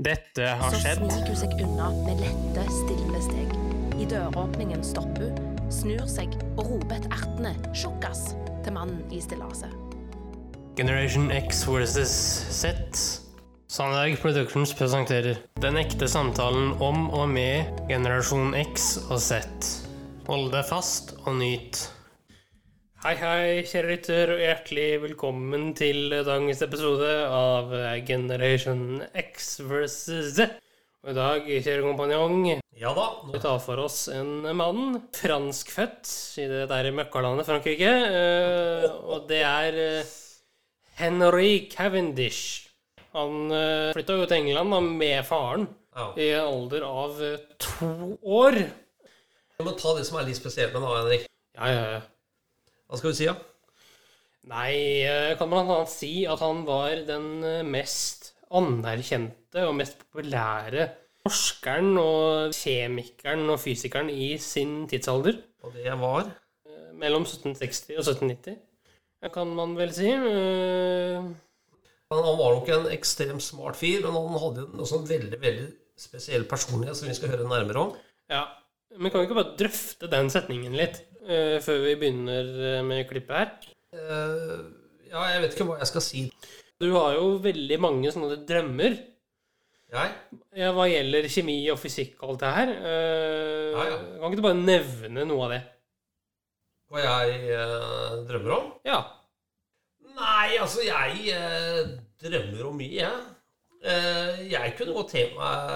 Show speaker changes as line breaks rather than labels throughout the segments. Dette har
Så
skjedd.
sniker hun seg unna med lette, stille steg. I døråpningen stopper hun, snur seg og roper et ertende 'sjokkas' til mannen i stillaset.
Generation X versus Z. Sandberg Productions presenterer Den ekte samtalen om og med generasjon X og Z. Hold deg fast og nyt. Hei, hei, kjære lytter, og hjertelig velkommen til dagens episode av Generation X versus Z. Og i dag, kjære kompanjong,
Ja da.
Vi tar for oss en mann, franskfødt, i det der møkkalandet Frankrike. eh, og det er eh, Henry Cavendish. Han uh, flytta jo til England da, med faren
Ja.
i en alder av eh, to år.
Vi må ta det som er litt spesielt med han, Henrik.
Ja, ja, ja.
Hva skal du si, da?
Nei, eh, kan man annet si at han var den eh, mest anerkjente og mest populære forskeren og kjemikeren og fysikeren i sin tidsalder?
Og det var
mellom 1760 og 1790, kan man vel si. Eh,
Han han var nok en ekstremt smart fyr, men han hadde en- også en veldig veldig spesiell personlighet som vi skal høre nærmere om.
Ja. Men kan vi ikke bare drøfte den setningen litt eh, før vi begynner eh, med klippet her?
Eh, ja, jeg vet ikke hva jeg skal si.
Du har jo veldig mange sånne drømmer
Jeg?
ja, hva gjelder kjemi og fysikk og alt det her. Eh,
Ja, ja.
Kan ikke du bare nevne noe av det?
Hva jeg eh, drømmer om?
Ja.
Nei, altså, jeg eh, drømmer om mye, jeg. Eh, jeg kunne godt tenkt meg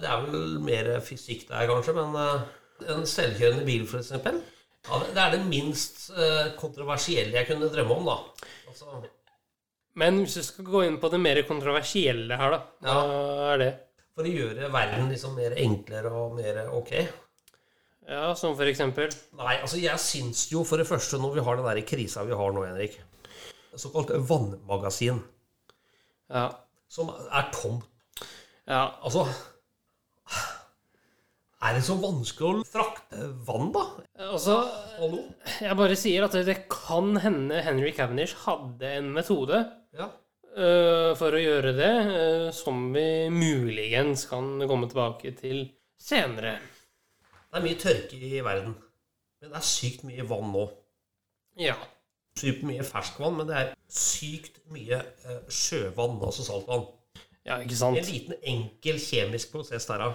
Det er vel mer fysikk der, kanskje, men eh, en selvkjørende bil, for eksempel. Ja, det- det er det minst eh, kontroversielle jeg kunne drømme om, da. Altså,
Men hvis du skal gå inn på det mer kontroversielle her, da. Hva er det?
for å gjøre verden liksom mer enklere og mer ok.
Ja, som for eksempel.
Nei, altså, jeg syns jo for det første, når vi har den der krisa vi har nå, Henrik Såkalt vannmagasin,
Ja.
som er tomt.
ja.
Altså Er det så vanskelig å frakte vann, da?
Altså,
Hallo?
Jeg bare sier at det kan hende Henry Cavendish hadde en metode
Ja.
øh, for å gjøre det, øh, som vi muligens kan komme tilbake til senere.
Det er mye tørke i verden. Men det er sykt mye vann nå.
Ja.
Sykt mye ferskvann, men det er sykt mye eh, sjøvann, altså saltvann.
Ja, ikke
En
sant?
liten enkel kjemisk prosess derav.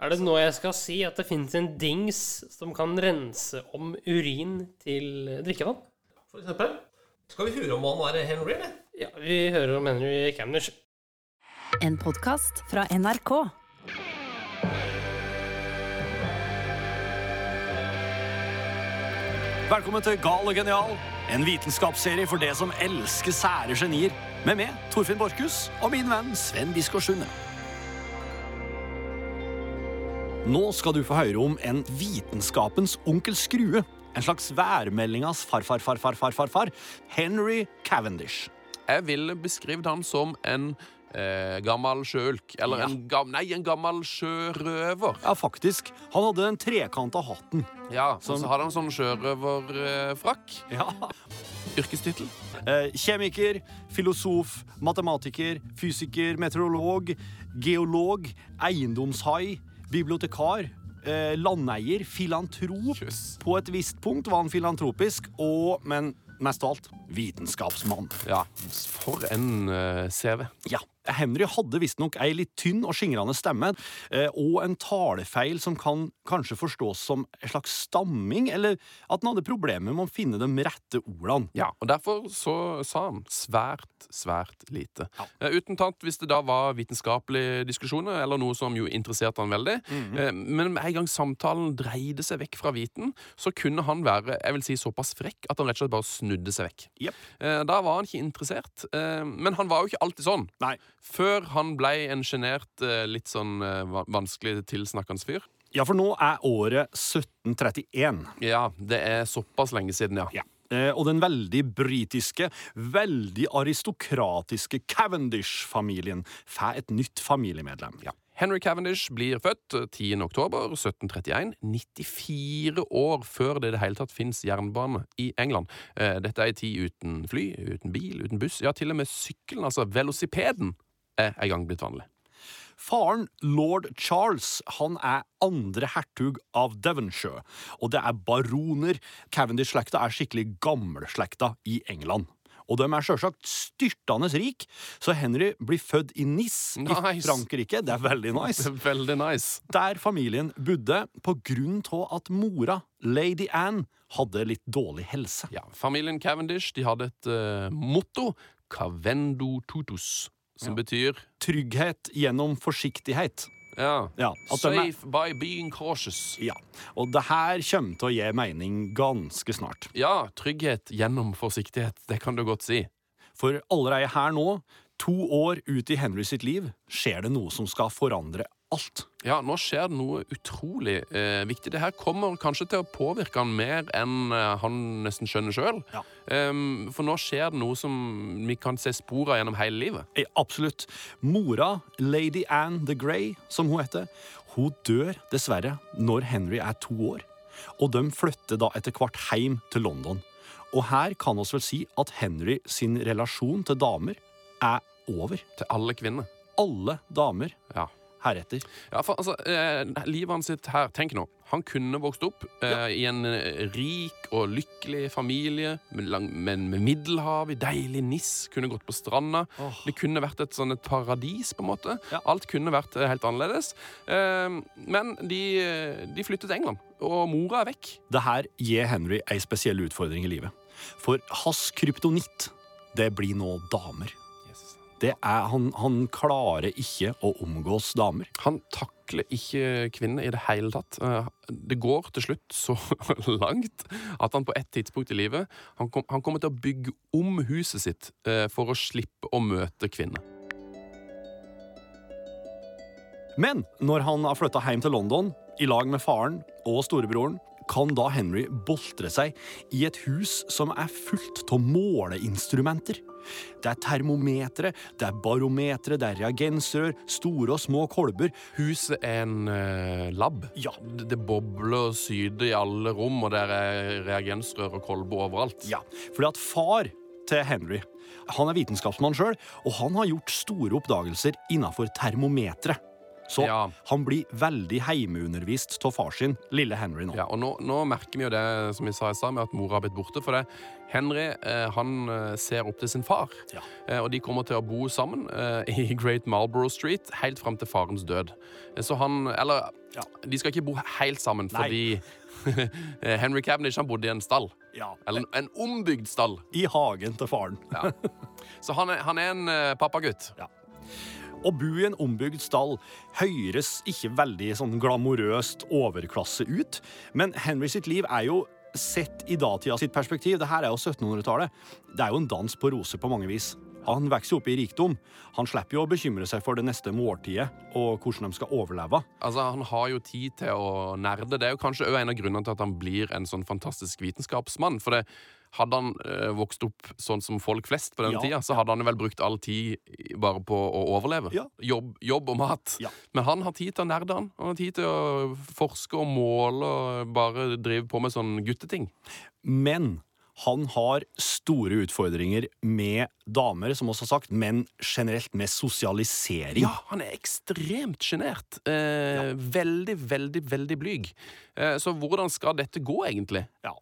Er det nå jeg skal si at det finnes en dings som kan rense om urin til drikkevann?
For eksempel. Skal vi høre om han er Henry, eller?
Ja, vi hører om Henry Cavendish.
En podkast fra NRK.
Velkommen til Gal og genial, en vitenskapsserie for det som elsker sære genier. Med meg, Torfinn Borchhus, og min venn Sven Biskår Sunde. Nå skal du få høre om en vitenskapens onkel Skrue. En slags værmeldingas farfar-farfar-farfar, Henry Cavendish.
Jeg ville beskrevet ham som en eh, gammel sjøulk. Eller en, gam, nei, en gammel sjørøver.
Ja, faktisk. Han hadde den trekanta hatten.
Ja, og
Som-
Så hadde han sånn sjørøverfrakk.
Ja.
Yrkestittel.
Eh, Kjemiker, filosof, matematiker, fysiker, meteorolog, geolog, eiendomshai, bibliotekar, eh, landeier, filantrop.
Jøss.
På et visst punkt var han filantropisk, og, men mest av alt, vitenskapsmann.
Ja, for en eh, CV.
Ja. Henry hadde visstnok ei litt tynn og skingrende stemme, eh, og en talefeil som kan kanskje forstås som en slags stamming, eller at han hadde problemer med å finne de rette ordene.
Ja, og Derfor så sa han svært, svært lite. Eh, uten tatt hvis det da var vitenskapelige diskusjoner, eller noe som jo interesserte han veldig. eh, men med en gang samtalen dreide seg vekk fra viten, så kunne han være jeg vil si, såpass frekk at han rett og slett bare snudde seg vekk.
Jepp.
Eh, da var han ikke interessert. eh, men han var jo ikke alltid sånn.
Nei.
Før han blei en sjenert, eh, litt sånn eh, va- vanskelig tilsnakkende fyr.
Ja, for nå er året 1731.
Ja, det er såpass lenge siden, ja.
Ja. Eh, Og den veldig britiske, veldig aristokratiske Cavendish-familien får et nytt familiemedlem. Ja.
Henry Cavendish blir født 10. oktober 1731, 94 år før det i det hele tatt fins jernbane i England. Eh, Dette er ei tid uten fly, uten bil, uten buss, ja, til og med sykkelen, altså velosipeden, er en gang blitt vanlig.
Faren, lord Charles, han er andre hertug av Devonshire, og det er baroner. Cavendish-slekta er skikkelig gammelslekta i England. Og de er sjølsagt styrtende rik, så Henry blir født i Nis i
Nice.
Frankrike. Det er veldig nice.
Veldig nice.
Der familien bodde på grunn av at mora, lady Anne, hadde litt dårlig helse.
Ja, familien Cavendish de hadde et eh, motto, Cavendo Tutus, som betyr
Trygghet gjennom forsiktighet.
ja,
Ja, at de er-
Safe by being cautious.
Ja, Og det her kommer til å gi mening ganske snart.
Ja, trygghet gjennom forsiktighet. Det kan du godt si.
For allerede her nå, to år ut i Henry sitt liv, skjer det noe som skal forandre alt.
Ja, nå skjer det noe utrolig eh, viktig. Det her kommer kanskje til å påvirke han mer enn eh, han nesten skjønner sjøl.
Ja.
for nå skjer det noe som vi kan se spor av gjennom hele livet.
Eh, Absolutt. Mora, lady Anne the Grey, som hun heter, hun dør dessverre når Henry er to år. Og de flytter da etter hvert hjem til London. Og her kan oss vel si at Henry sin relasjon til damer er over.
Til alle kvinner.
Alle damer
Ja.
heretter.
ja for altså, eh, livet hans sitt her Tenk nå. Han kunne vokst opp eh, i en eh, rik og lykkelig familie, med, lang, men med Middelhav, i deilig Nis, kunne gått på stranda.
Åh.
Det kunne vært et sånn et paradis, på en måte.
Ja.
Alt kunne vært eh, helt annerledes. Eh, Men de, eh, de flyttet til England, og mora er vekk.
Det her gir Henry ei spesiell utfordring i livet. For hans kryptonitt, det blir nå damer. Det er, han, han klarer ikke å omgås damer.
Han takler ikke kvinner i det hele tatt. Eh, Det går til slutt så langt at han på et tidspunkt i livet han, kom, han kommer til å bygge om huset sitt eh, for å slippe å møte kvinner.
Men når han har flytta hjem til London i lag med faren og storebroren, kan da Henry boltre seg i et hus som er fullt av måleinstrumenter. Det er termometre, det er barometre, det er reagensrør, store og små kolber.
Huset er en eh, lab.
Ja.
Det det bobler og syder i alle rom, og der er reagensrør og kolber overalt.
Ja, fordi at far til Henry han er vitenskapsmann sjøl, og han har gjort store oppdagelser innafor termometeret. Så
Ja.
han blir veldig heimeundervist av far sin, lille Henry nå.
Ja, og nå, nå merker vi jo det som vi sa i stad, med at mora har blitt borte. For det, Henry eh, han eh, ser opp til sin far,
Ja.
eh, og de kommer til å bo sammen eh, i Great Marlborough Street helt fram til farens død. Eh, Så han Eller,
Ja.
de skal ikke bo helt sammen,
Nei.
fordi eh, Henry Cavendish han bodde i en stall.
Ja,
Eller en, en ombygd stall.
I hagen til faren.
Så han er, han er en eh, pappagutt.
Å bo i en ombygd stall høres ikke veldig sånn glamorøst overklasse ut, men Henry sitt liv er jo Sett i datida sitt perspektiv, det her er jo 1700-tallet, det er jo en dans på roser på mange vis. Han vokser jo opp i rikdom. Han slipper jo å bekymre seg for det neste måltidet og hvordan de skal overleve.
Altså, Han har jo tid til å nerde. Det er jo kanskje også en av grunnene til at han blir en sånn fantastisk vitenskapsmann. For det, hadde han eh, vokst opp sånn som folk flest på den
Ja.
tida, så hadde han vel brukt all tid i- bare på å overleve.
Ja.
Jobb, jobb og mat.
Ja.
Men han har tid til å nerde, han. Han har tid til å forske og måle og bare drive på med sånn gutteting.
Men han har store utfordringer med damer, som også har sagt, men generelt med sosialisering.
Ja, han er ekstremt sjenert. Eh, Veldig, veldig, veldig blyg. Eh, så hvordan skal dette gå, egentlig?
Ja.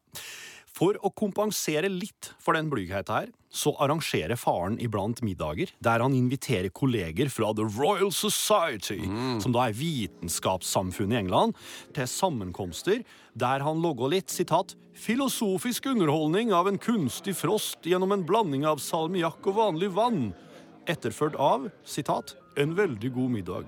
For å kompensere litt for den blygheta her, så arrangerer faren iblant middager der han inviterer kolleger fra The Royal Society, som da er vitenskapssamfunnet i England, til sammenkomster der han logger litt sitat, 'filosofisk underholdning av en kunstig frost gjennom en blanding av salmiakk og vanlig vann', etterført av sitat, 'en veldig god middag'.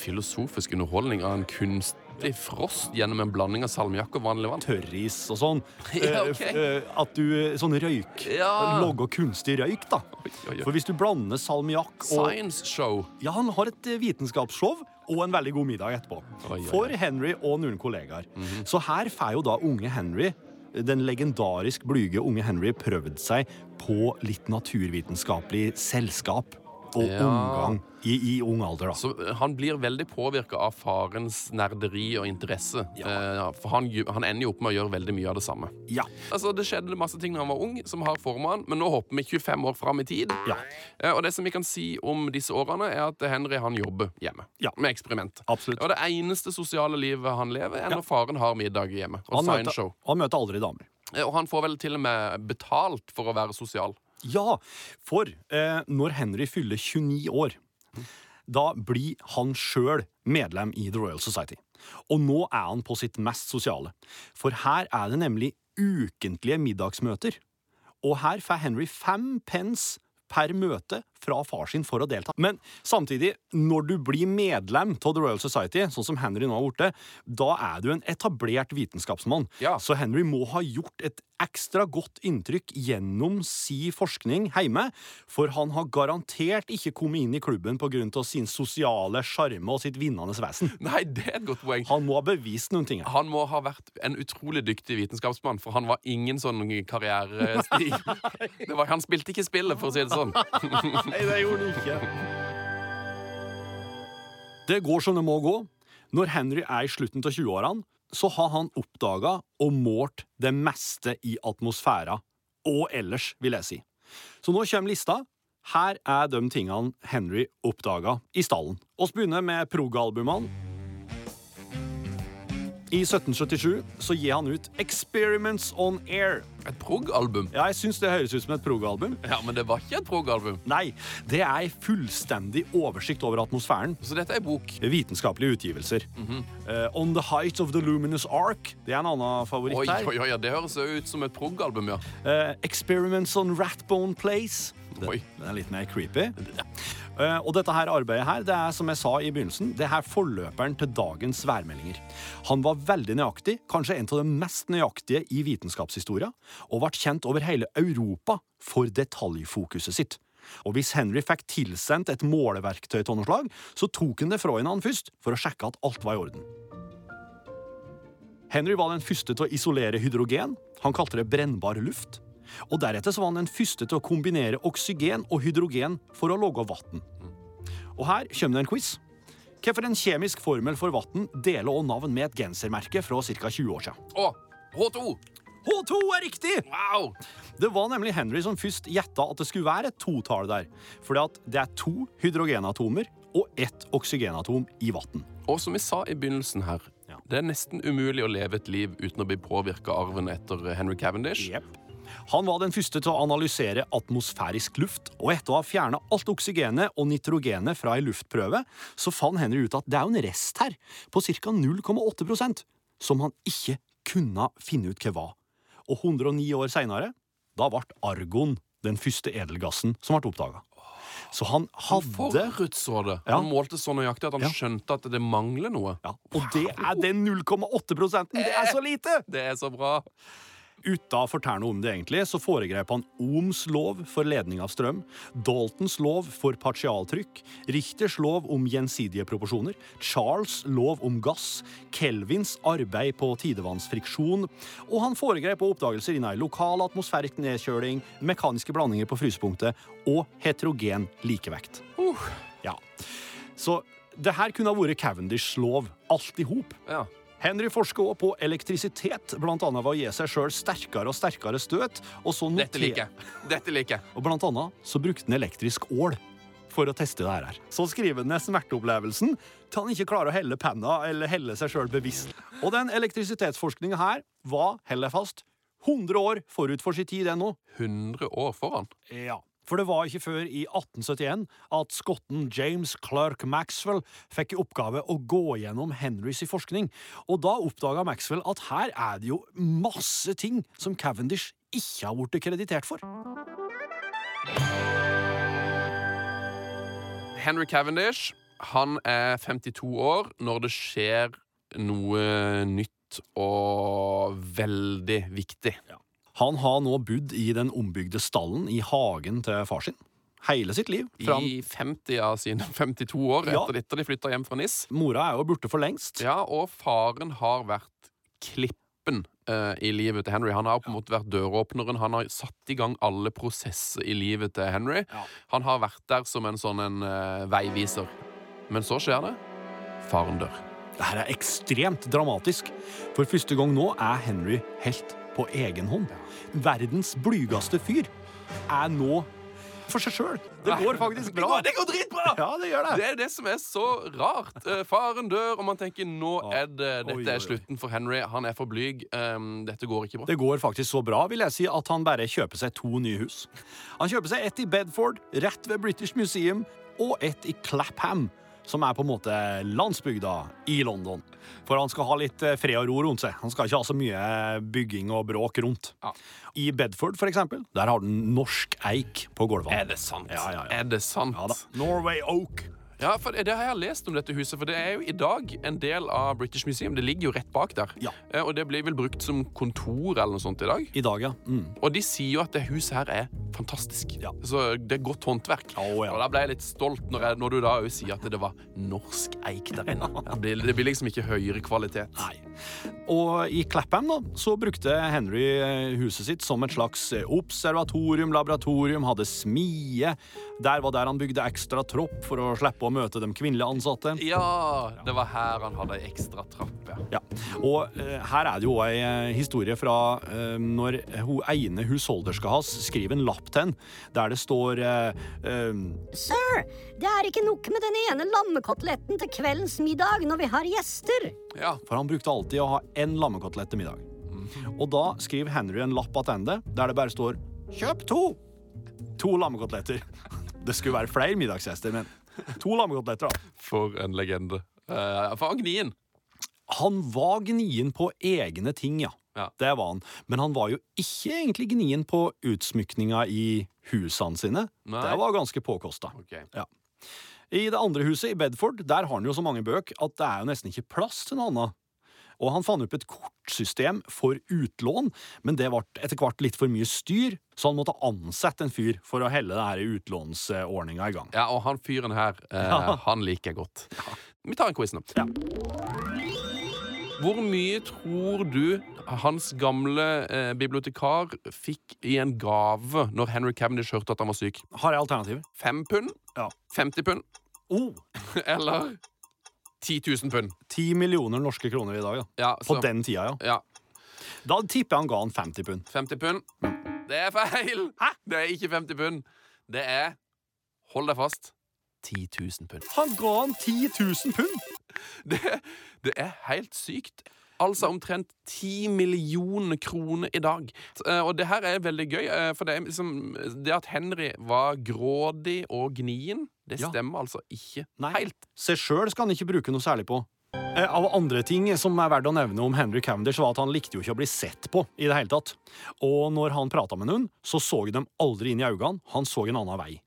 filosofisk underholdning av en kunstig frost gjennom en blanding av salmiakk og vanlig vann.
Tørris og sånn.
Ja, ok.
Eh, f- eh, At du Sånn røyk.
Ja.
Logger kunstig røyk, da.
oi, oi.
For hvis du blander salmiakk og
Science show.
Ja, han har et eh, vitenskapsshow og en veldig god middag etterpå.
Oi, Mhm. oi, oi.
For Henry og noen kollegaer. Så her får jo da unge Henry, den legendarisk blyge unge Henry, prøvd seg på litt naturvitenskapelig selskap. og
Ja.
omgang i, i ung alder, da.
Så eh, han blir veldig påvirka av farens nerderi og interesse. Eh, For han, ju- han ender jo opp med å gjøre veldig mye av det samme.
Ja.
Altså, Det skjedde masse ting da han var ung, som har forma han, men nå hopper vi 25 år fram i tid.
Ja.
Eh, Og det som vi kan si om disse årene, er at Henry han jobber hjemme
Ja.
med eksperiment.
Absolutt.
Og det eneste sosiale livet han lever, er når faren har middag hjemme. Og
Han møter,
signshow.
han møter aldri damer.
Eh, Og han får vel til og med betalt for å være sosial.
Ja, for eh, når Henry fyller 29 år, da blir han sjøl medlem i The Royal Society. Og nå er han på sitt mest sosiale, for her er det nemlig ukentlige middagsmøter. Og her får Henry fem pence per møte fra far sin for å delta. Men samtidig, når du blir medlem av The Royal Society, sånn som Henry nå har blitt det, da er du en etablert vitenskapsmann.
Ja.
Så Henry må ha gjort et ekstra godt inntrykk gjennom si forskning hjemme, for han har garantert ikke kommet inn i klubben pga. sin sosiale sjarme og sitt vinnende vesen.
Nei, det er et godt poeng.
Han må ha bevist noen ting. her.
Han må ha vært en utrolig dyktig vitenskapsmann, for han var ingen sånn karrierestig. Det var, han spilte ikke spillet, for å si det sånn.
Nei, det gjorde han ikke. Det går som det må gå. Når Henry er i slutten av 20-årene, så har han oppdaga og målt det meste i atmosfæra. Og ellers, vil jeg si. Så nå kommer lista. Her er de tingene Henry oppdaga i stallen. Vi begynner med prog-albumene. I 1777 så gir han ut Experiments On Air.
Et prog-album.
Ja, jeg syns det høres ut som et prog-album.
Ja, men det var ikke et prog-album.
Nei, det er ei fullstendig oversikt over atmosfæren.
Så dette er bok.
Vitenskapelige utgivelser.
Mhm.
Eh, On the Height of the Luminous Ark. Det er en annen favoritt
Oi,
her.
oi, oi, ja, det høres jo ut som et prog-album, ja.
Eh, Experiments on Ratbone Place. Den,
Oi.
den er litt mer creepy. Eh, og dette her arbeidet her, det er som jeg sa i begynnelsen, det er forløperen til dagens værmeldinger. Han var veldig nøyaktig, kanskje en av de mest nøyaktige i vitenskapshistoria, og ble kjent over hele Europa for detaljfokuset sitt. Og hvis Henry fikk tilsendt et måleverktøy av noe slag, så tok han det fra henne først, for å sjekke at alt var i orden. Henry var den første til å isolere hydrogen. Han kalte det brennbar luft. Og deretter så var han den første til å kombinere oksygen og hydrogen for å lage vann. Og her kommer det en quiz. Hvorfor en kjemisk formel for vann deler også navn med et gensermerke fra ca. 20 år siden?
Å, H2!
H2 er riktig!
Wow!
Det var nemlig Henry som først gjetta at det skulle være et totall der. Fordi at det er to hydrogenatomer og ett oksygenatom i vann.
Og som vi sa i begynnelsen her,
Ja.
det er nesten umulig å leve et liv uten å bli påvirka av arven etter eh, Henry Cavendish.
Jepp. Han var den første til å analysere atmosfærisk luft, og etter å ha fjerna alt oksygenet og nitrogenet fra ei luftprøve, så fant Henry ut at det er jo en rest her, på ca. 0,8 som han ikke kunne finne ut hva var. Og 109 år seinere, da ble argon den første edelgassen som ble oppdaga. Så han hadde
Forutså det!
Ja.
Han målte så nøyaktig at han
Ja.
skjønte at det mangler noe.
ja, Og det er den 0,8 prosenten! Det er så lite!
Det er så bra!
Uten å fortelle noe om det egentlig, så foregrep han Ohms lov for ledning av strøm, Daltons lov for partialtrykk, Richters lov om gjensidige proporsjoner, Charles lov om gass, Kelvins arbeid på tidevannsfriksjon, og han foregrep også oppdagelser innen lokal atmosfærisk nedkjøling, mekaniske blandinger på frysepunktet og heterogen likevekt. Ja. Så det her kunne ha vært Cavendishs lov alt i hop.
Ja.
Henry forsker også på elektrisitet, blant annet ved å gi seg sjøl sterkere og sterkere støt. Og, så noter-
Dette liker jeg. Dette liker jeg.
og blant annet så brukte han elektrisk ål for å teste det her. Så skriver han ned smerteopplevelsen til han ikke klarer å helle penna eller helle seg sjøl bevisst. Og den elektrisitetsforskninga her var, held deg fast, 100 år forut for sin tid ennå.
100 år foran.
Ja. For det var ikke før i 1871 at skotten James Clerk Maxwell fikk i oppgave å gå gjennom Henrys forskning, og da oppdaga Maxwell at her er det jo masse ting som Cavendish ikke har blitt kreditert for.
Henry Cavendish han er 52 år når det skjer noe nytt og veldig viktig.
Han har nå bodd i den ombygde stallen i hagen til far sin hele sitt liv. Fram.
I 50 av sine 52 år
Ja.
etter dette de flytta hjem fra NIS.
Mora er jo borte for lengst.
Ja, og faren har vært klippende kneppen eh, i livet til Henry. Han har på en måte vært døråpneren. Han har satt i gang alle prosesser i livet til Henry. Han har vært der som en sånn en eh, veiviser. Men så skjer det. Faren dør.
Dette er ekstremt dramatisk. For første gang nå er Henry helt på egen hånd. Verdens blygeste fyr er nå for seg sjøl. Det går faktisk
Det
bra.
går, det går dritbra!
Ja, det gjør
Det
det.
er det som er så rart. Eh, Faren dør, og man tenker nå er det,
Oi,
dette
oi, oi.
er slutten for Henry. Han er for blyg. Ehm, dette går ikke bra.
Det går faktisk så bra vil jeg si, at han bare kjøper seg to nye hus. Han kjøper seg ett i Bedford, rett ved British Museum, og ett i Clapham, som er på en måte landsbygda i London. For han skal ha litt eh, fred og ro rundt seg. Han skal ikke ha så mye eh, bygging og bråk rundt. I Bedford, for eksempel, der har den norsk eik på gulvene.
Er det sant?
Ja, ja, ja.
Er det sant?
Ja da. Norway Oak.
Ja, for det har jeg lest om dette huset, for det er jo i dag en del av British Museum. Det ligger jo rett bak der.
Ja.
Eh, Og det blir vel brukt som kontor eller noe sånt i dag.
I dag, ja. Mm.
Og de sier jo at det huset her er fantastisk.
Ja.
Så det er godt håndverk.
Å, ja.
Og da ble jeg litt stolt når, jeg, når du da også sier at det var norsk eik der inne. Det blir, det blir liksom ikke høyere kvalitet.
Nei. Og i Clapham da, så brukte Henry eh, huset sitt som et slags eh, observatorium, laboratorium, hadde smie. Der var der han bygde ekstra tropp for å slippe å møte de kvinnelige ansatte.
Ja, det var her han hadde ei ekstra trapp. ja.
Ja, og eh, her er det jo ei eh, historie fra eh, når hun ene husholderska hans skriver en lapp til henne, der det står eh, eh,
Sir, det er ikke nok med den ene lammekoteletten til kveldens middag når vi har gjester.
Ja,
For han brukte alltid å ha én lammekotelett til middag.
Mhm.
Og da skriver Henry en lapp attende der det bare står 'kjøp to'. To lammekoteletter. Det skulle være flere middagsgjester, men to lammekoteletter, da.
For en legende. Eh, for Agnien.
Han var gnien på egne ting, ja.
Ja.
Det var han. Men han var jo ikke egentlig gnien på utsmykninga i husene sine.
Nei.
Det var ganske påkosta.
Ok.
Ja. I det andre huset, i Bedford, der har han jo så mange bøk at det er jo nesten ikke plass til noe annet. Og han fant opp et kortsystem for utlån, men det ble etter hvert litt for mye styr, så han måtte ansette en fyr for å helle denne utlånsordninga i gang.
Ja, og han fyren her, eh, han liker jeg godt. Vi tar en quiz nå. Hvor mye tror du hans gamle eh, bibliotekar fikk i en gave når Henry Cavendish hørte at han var syk?
Har jeg alternativer?
Fem pund?
Ja.
50 pund?
Oh,
Eller 10 000 pund?
ti millioner norske kroner i dag, ja.
Ja,
På
så-
den tida, ja.
Ja,
Da tipper jeg han ga han 50 pund.
50 pund. Det er feil!
Hæ?
Det er ikke 50 pund. Det er, hold deg fast, 10 000 pund.
Han ga han 10 000 pund!
Det, det er helt sykt. Altså omtrent 10 millioner kroner i dag. Eh, Og det her er veldig gøy, eh, for det, er liksom, det at Henry var grådig og gnien, det
Ja.
stemmer altså ikke
Nei.
helt.
Seg sjøl skal han ikke bruke noe særlig på. Eh, Av andre ting som er verdt å nevne om Henry Cavendish, var at han likte jo ikke å bli sett på i det hele tatt. Og når han prata med noen, så så de aldri inn i øynene, han så en annen vei.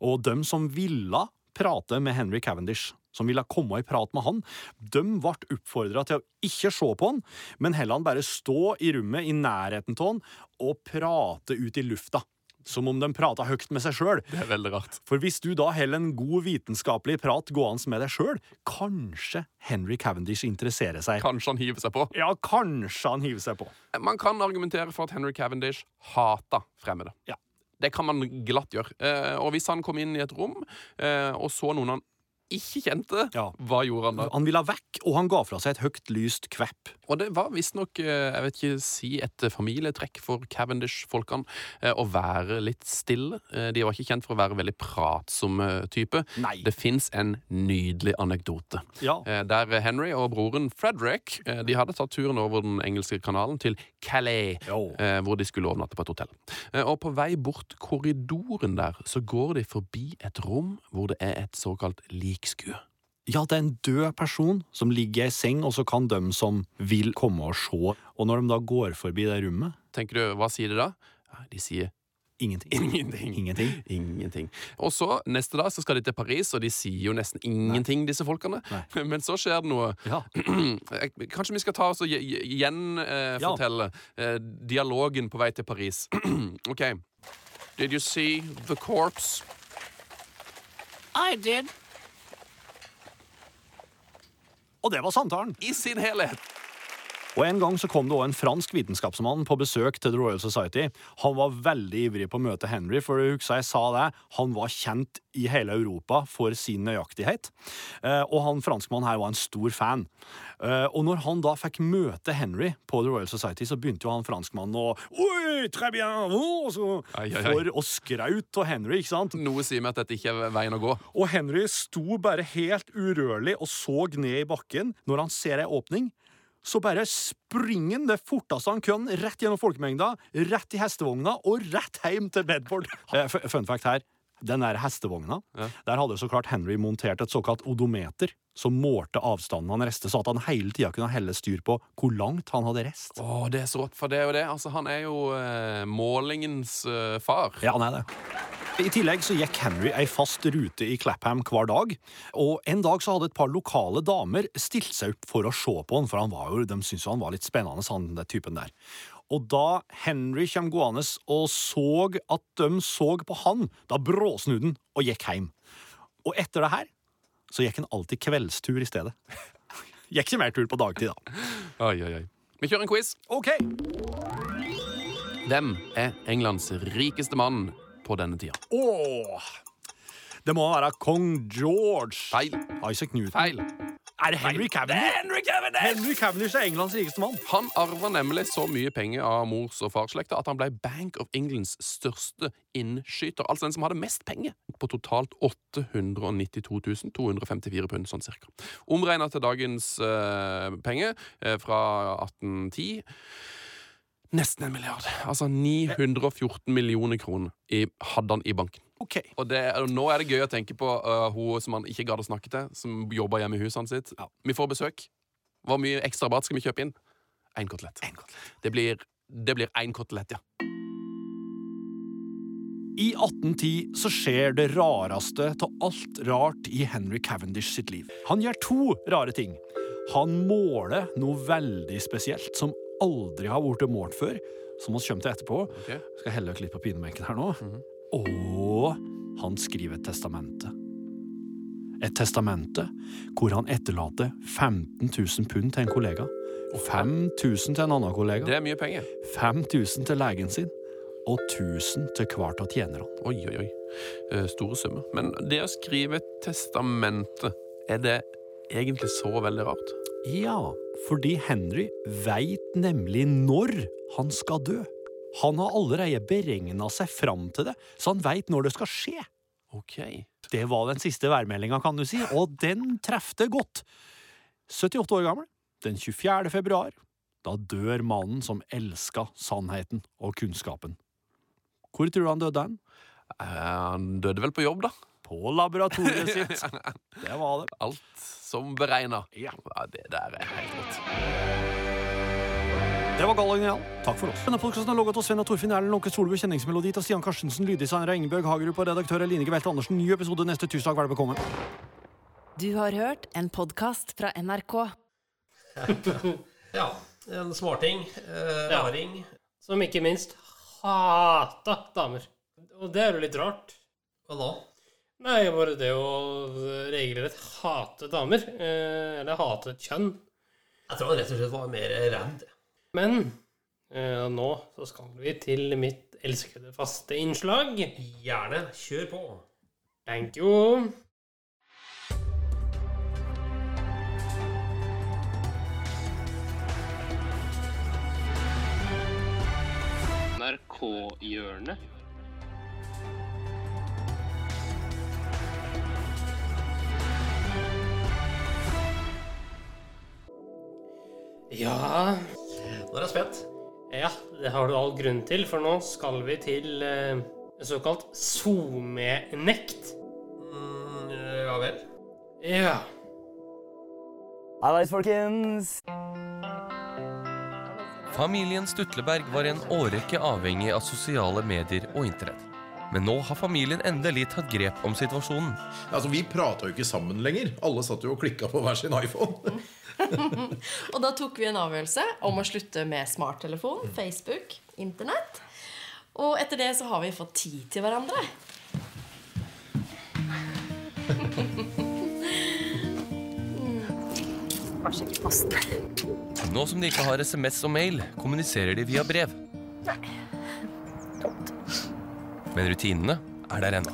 Og dem som ville prate med Henry Cavendish, som ville komme i prat med han, dem ble oppfordra til å ikke se på han, men heller han bare stå i rommet i nærheten av han og prate ut i lufta. Som om de prata høyt med seg sjøl.
Det er veldig rart.
For hvis du da heller en god vitenskapelig prat gående med deg sjøl, kanskje Henry Cavendish interesserer seg.
Kanskje han hiver seg på.
Ja, kanskje han hiver seg på.
Man kan argumentere for at Henry Cavendish hata fremmede.
Ja.
Det kan man glatt gjøre. Eh, og hvis han kom inn i et rom eh, og så noen han ikke kjente,
Ja.
hva gjorde han da?
Han ville vekk, og han ga fra seg et høyt lyst kvepp.
Og det var visstnok, eh, jeg vet ikke, si et eh, familietrekk for Cavendish-folkene eh, å være litt stille. Eh, De var ikke kjent for å være veldig pratsomme type.
Nei.
Det fins en nydelig anekdote.
Ja.
Eh, Der Henry og broren Frederick eh, De hadde tatt turen over den engelske kanalen til Calais,
Jo.
eh, hvor de skulle overnatte på et hotell. Eh, Og på vei bort korridoren der, så går de forbi et rom hvor det er et såkalt likskue.
Ja, det er en død person som ligger i ei seng, og så kan dem som vil komme og se. Og når de da går forbi det rommet
Tenker du, hva sier de da? Ja, De sier
Ingenting.
Ingenting.
Ingenting.
Ingenting. Og så, neste dag, så skal de til Paris, og de sier jo nesten ingenting, disse folkene.
Nei.
Men så skjer det noe.
Ja.
Kanskje vi skal ta oss og
Ja.
gjenfortelle eh, dialogen på vei til Paris. ok. Did you see the corpse? I did.
Og det var samtalen!
I sin helhet.
Og En gang så kom det også en fransk vitenskapsmann på besøk til The Royal Society. Han var veldig ivrig på å møte Henry, for jeg husker jeg sa det, han var kjent i hele Europa for sin nøyaktighet. Eh, Og han franskmannen her var en stor fan. Eh, Og når han da fikk møte Henry på The Royal Society, så begynte jo han franskmannen å Oi, très bien, oh, så,
Ai, ai, ai.
For å skraute av Henry, ikke sant?
Noe sier meg at dette ikke er veien å gå.
Og Henry sto bare helt urørlig og så ned i bakken når han ser ei åpning. Så bare springer han det forteste han kan, rett gjennom folkemengda, rett i hestevogna og rett hjem til Bedford. Eh, f- Fun fact her. Den der hestevogna, der hadde så klart Henry montert et såkalt odometer som målte avstanden han reiste, så at han hele tida kunne helle styr på hvor langt han hadde reist.
Å, det er så rått for det og det. Altså, han er jo eh, målingens eh, far.
Ja, han er det. I tillegg så gikk Henry ei fast rute i Clapham hver dag, og en dag så hadde et par lokale damer stilt seg opp for å se på han, for han var jo, de syntes jo han var litt spennende, han den typen der. Og da Henry kom gående og så at de så på han, da bråsnudde han og gikk hjem. Og etter det her så gikk han alltid kveldstur i stedet. Gikk ikke mer tur på dagtid, da.
Oi, oi, oi. Vi kjører en quiz.
Ok,
Hvem er Englands rikeste mann på denne tida?
åh. Det må være kong George.
Feil.
Isaac Newton.
Feil.
Er det Henry Cavendish? Henry Cavendish! Henry Cavendish er Englands rikeste mann.
Han arva nemlig så mye penger av mors- og farsslekta at han ble Bank of Englands største innskyter. Altså den som hadde mest penger, på totalt 892 254 pund, sånn cirka. Omregna til dagens eh, penger eh, fra 1810 Nesten en milliard. Altså 914 millioner kroner i, hadde han i banken.
Ok.
Og, det, og nå er det gøy å tenke på øh, hun som han ikke gadd å snakke til, som jobber hjemme i huset hans sitt.
Ja.
Vi får besøk. Hvor mye ekstra mat skal vi kjøpe inn? Én kotelett. Det blir det blir én kotelett, ja.
I 1810 så skjer det rareste til alt rart i Henry Cavendish sitt liv. Han gjør to rare ting. Han måler noe veldig spesielt som aldri har vært målt før, som vi kommer til etterpå.
Ok.
Skal helle dere litt på pinebenken her nå. Og han skriver et testamente. Et testamente hvor han etterlater 15 000 pund til en kollega. 5000 til en annen kollega.
Det er mye penger.
5000 til legen sin og 1000 til hvert av tjenerne.
Oi, oi, oi. Eh, store summer. Men det å skrive testamente, er det egentlig så veldig rart?
Ja, fordi Henry veit nemlig når han skal dø. Han har allerede beregna seg fram til det, så han veit når det skal skje.
OK.
Det var den siste værmeldinga, kan du si, og den trefte godt. 78 år gammel, den 24. februar, da dør mannen som elska sannheten og kunnskapen. Hvor tror du han døde hen?
Eh, han døde vel på jobb, da?
På laboratoriet sitt. Det var det.
Alt som beregna.
Ja.
det der er helt rått.
Det var Gallag Genial. Takk for oss. Denne podkasten er logget av Sven og Torfinn Erlend Lånke Solbu, kjenningsmelodi av Stian Karstensen, lyddesigner av Ingebjørg Hagerup og redaktør Eline Gevelte Andersen. Ny episode neste tirsdag. Vær velkommen.
Du har hørt en podkast fra NRK.
Ja, en smarting. Eh,
Ja.
raring.
Som ikke minst hata damer. Og det er jo litt rart.
Hva da?
Nei, bare det å regelrett hate damer. Eh, eller hate et kjønn.
Jeg tror han rett og slett var mer redd.
Men eh, nå så skal vi til mitt elskede faste innslag.
Gjerne. Kjør på.
Thank you. NRK-hjørnet. Ja
Nå er jeg spent.
ja, det har du all grunn til, for nå skal vi til eh, såkalt SoMe-nekt.
Mm, ja vel.
Ja.
Hallais, folkens!
Familien Stutleberg var en årrekke avhengig av sosiale medier og internett. Men nå har familien endelig tatt grep om situasjonen.
Altså, Vi prata jo ikke sammen lenger. Alle satt jo og klikka på hver sin iPhone.
Og da tok vi en avgjørelse om å slutte med smarttelefon, Facebook, Internett. Og etter det så har vi fått tid til hverandre.
bare sjekke posten.
Nå som de ikke har SMS og mail, kommuniserer de via brev.
Nei.
Men rutinene er der ennå.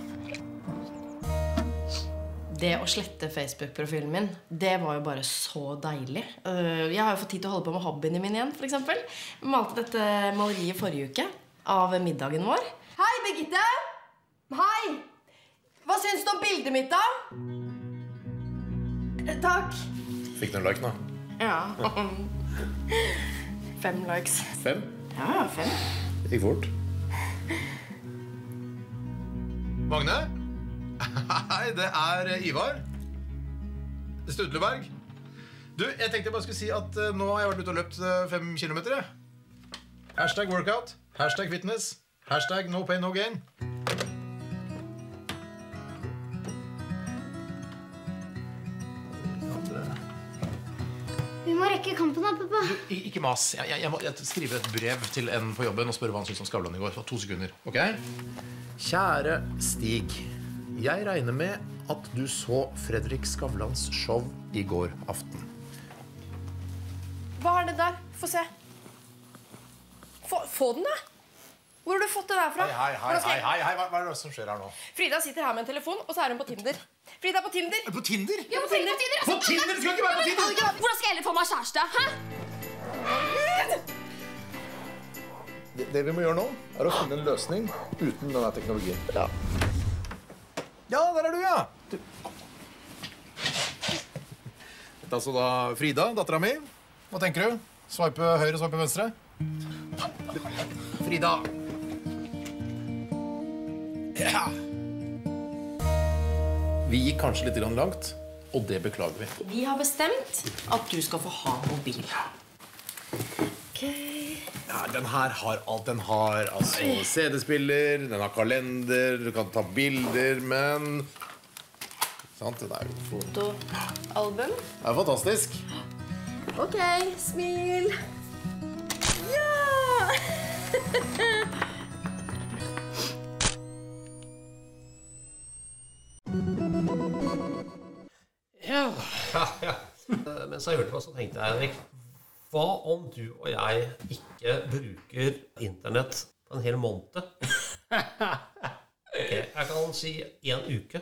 Det å slette Facebook-profilen min, det var jo bare så deilig. Eh, Jeg har jo fått tid til å holde på med hobbyen min igjen, f.eks. Malte dette maleriet forrige uke av middagen vår. Hei, Birgitte! Hei! Hva syns du om bildet mitt, da? Eh, Takk.
Fikk du en like, da?
Ja. Fem likes.
Fem?
Ja, fem.
Gikk fort. Magne? Hei, det er eh, Ivar. Studleberg. Du, jeg tenkte jeg bare skulle si at eh, nå har jeg vært ute og løpt eh, fem kilometer. Jeg. Hashtag workout. Hashtag fitness. Hashtag no pain, no gain.
Vi må rekke kampen da, pappa.
I- Ikke mas. Jeg, jeg, jeg må jeg skriver et brev til en på jobben og spørre hva han syns om Skavlan i går. To sekunder, ok? Kjære Stig. Jeg regner med at du så Fredrik Skavlans show i går aften.
Hva er det der? Få se. Få, få den, da! Hvor har du fått det der fra?
Hei, hei, hei,
Hvordan skal
hei,
jeg-
hei, hei. Hva, hva er det som skjer her nå?
Frida sitter her med en telefon, og så er hun på Tinder. Frida er på Tinder!
På Tinder?
Ja, på Tinder.
På Tinder? Du skal ikke være på Tinder!
Hvordan skal jeg heller få meg kjæreste?
Det, det vi må gjøre nå, er å finne en løsning uten denne teknologien. Ja, der er du, ja!
Dette er altså da Frida, dattera mi. Hva tenker du? Sveipe høyre, sveipe venstre? Frida. Ja. Vi gikk kanskje litt grann langt, og det beklager vi.
Vi har bestemt at du skal få ha mobil.
Ja, den her har alt den har. Altså CD-spiller, den har kalender, du kan ta bilder, men Sant? Den er jo for-
Fotoalbum.
Det er fantastisk.
Ok, smil. Ja!
Ja. Eh, Mens jeg hørte på, så tenkte jeg, Henrik Hva om du og jeg ikke bruker internett på en hel måned? Ok, jeg kan si én uke.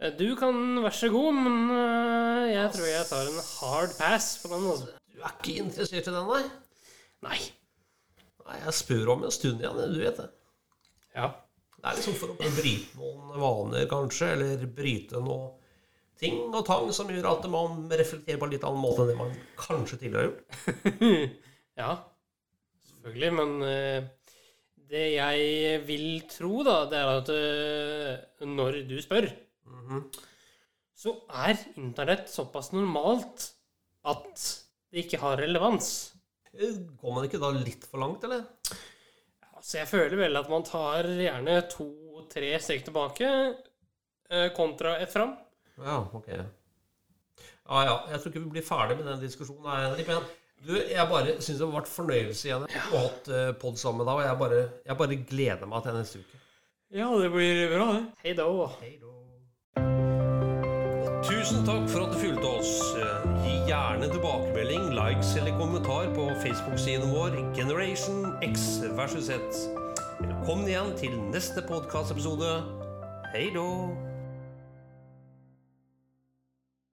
Eh, Du kan være så god, men øh, jeg tror jeg tar en hard pass på den. Altså.
Du er ikke interessert i den, nei?
Nei.
Nei, Jeg spør om en stund igjen, du vet det.
Ja.
Det er liksom for å bryte noen vaner, kanskje, eller bryte noe ting og tang som gjør at man reflekterer på en litt annen måte enn det man kanskje tidligere har gjort.
ja, selvfølgelig, men øh, det jeg vil tro, da, det er at øh, når du spør, Mm-hmm. så er internett såpass normalt at det ikke har relevans.
Eh, Går man ikke da litt for langt, eller?
Altså, jeg føler vel at man tar gjerne to-tre steg tilbake øh, kontra ett fram.
Ja, ok. Ja, ja. Jeg tror ikke vi blir ferdig med den diskusjonen. her, Henrik, men du, jeg bare syns det har vært fornøyelse igjen. Vi har hatt eh, podd sammen med deg, og jeg bare, jeg bare gleder meg til neste uke.
Ja, det blir bra, det. Hei da.
Tusen takk for at du fulgte oss. Eh, Gi gjerne tilbakemelding, likes eller kommentar på Facebook-siden vår Generation X versus Z. Velkommen igjen til neste podkastepisode. Hei då!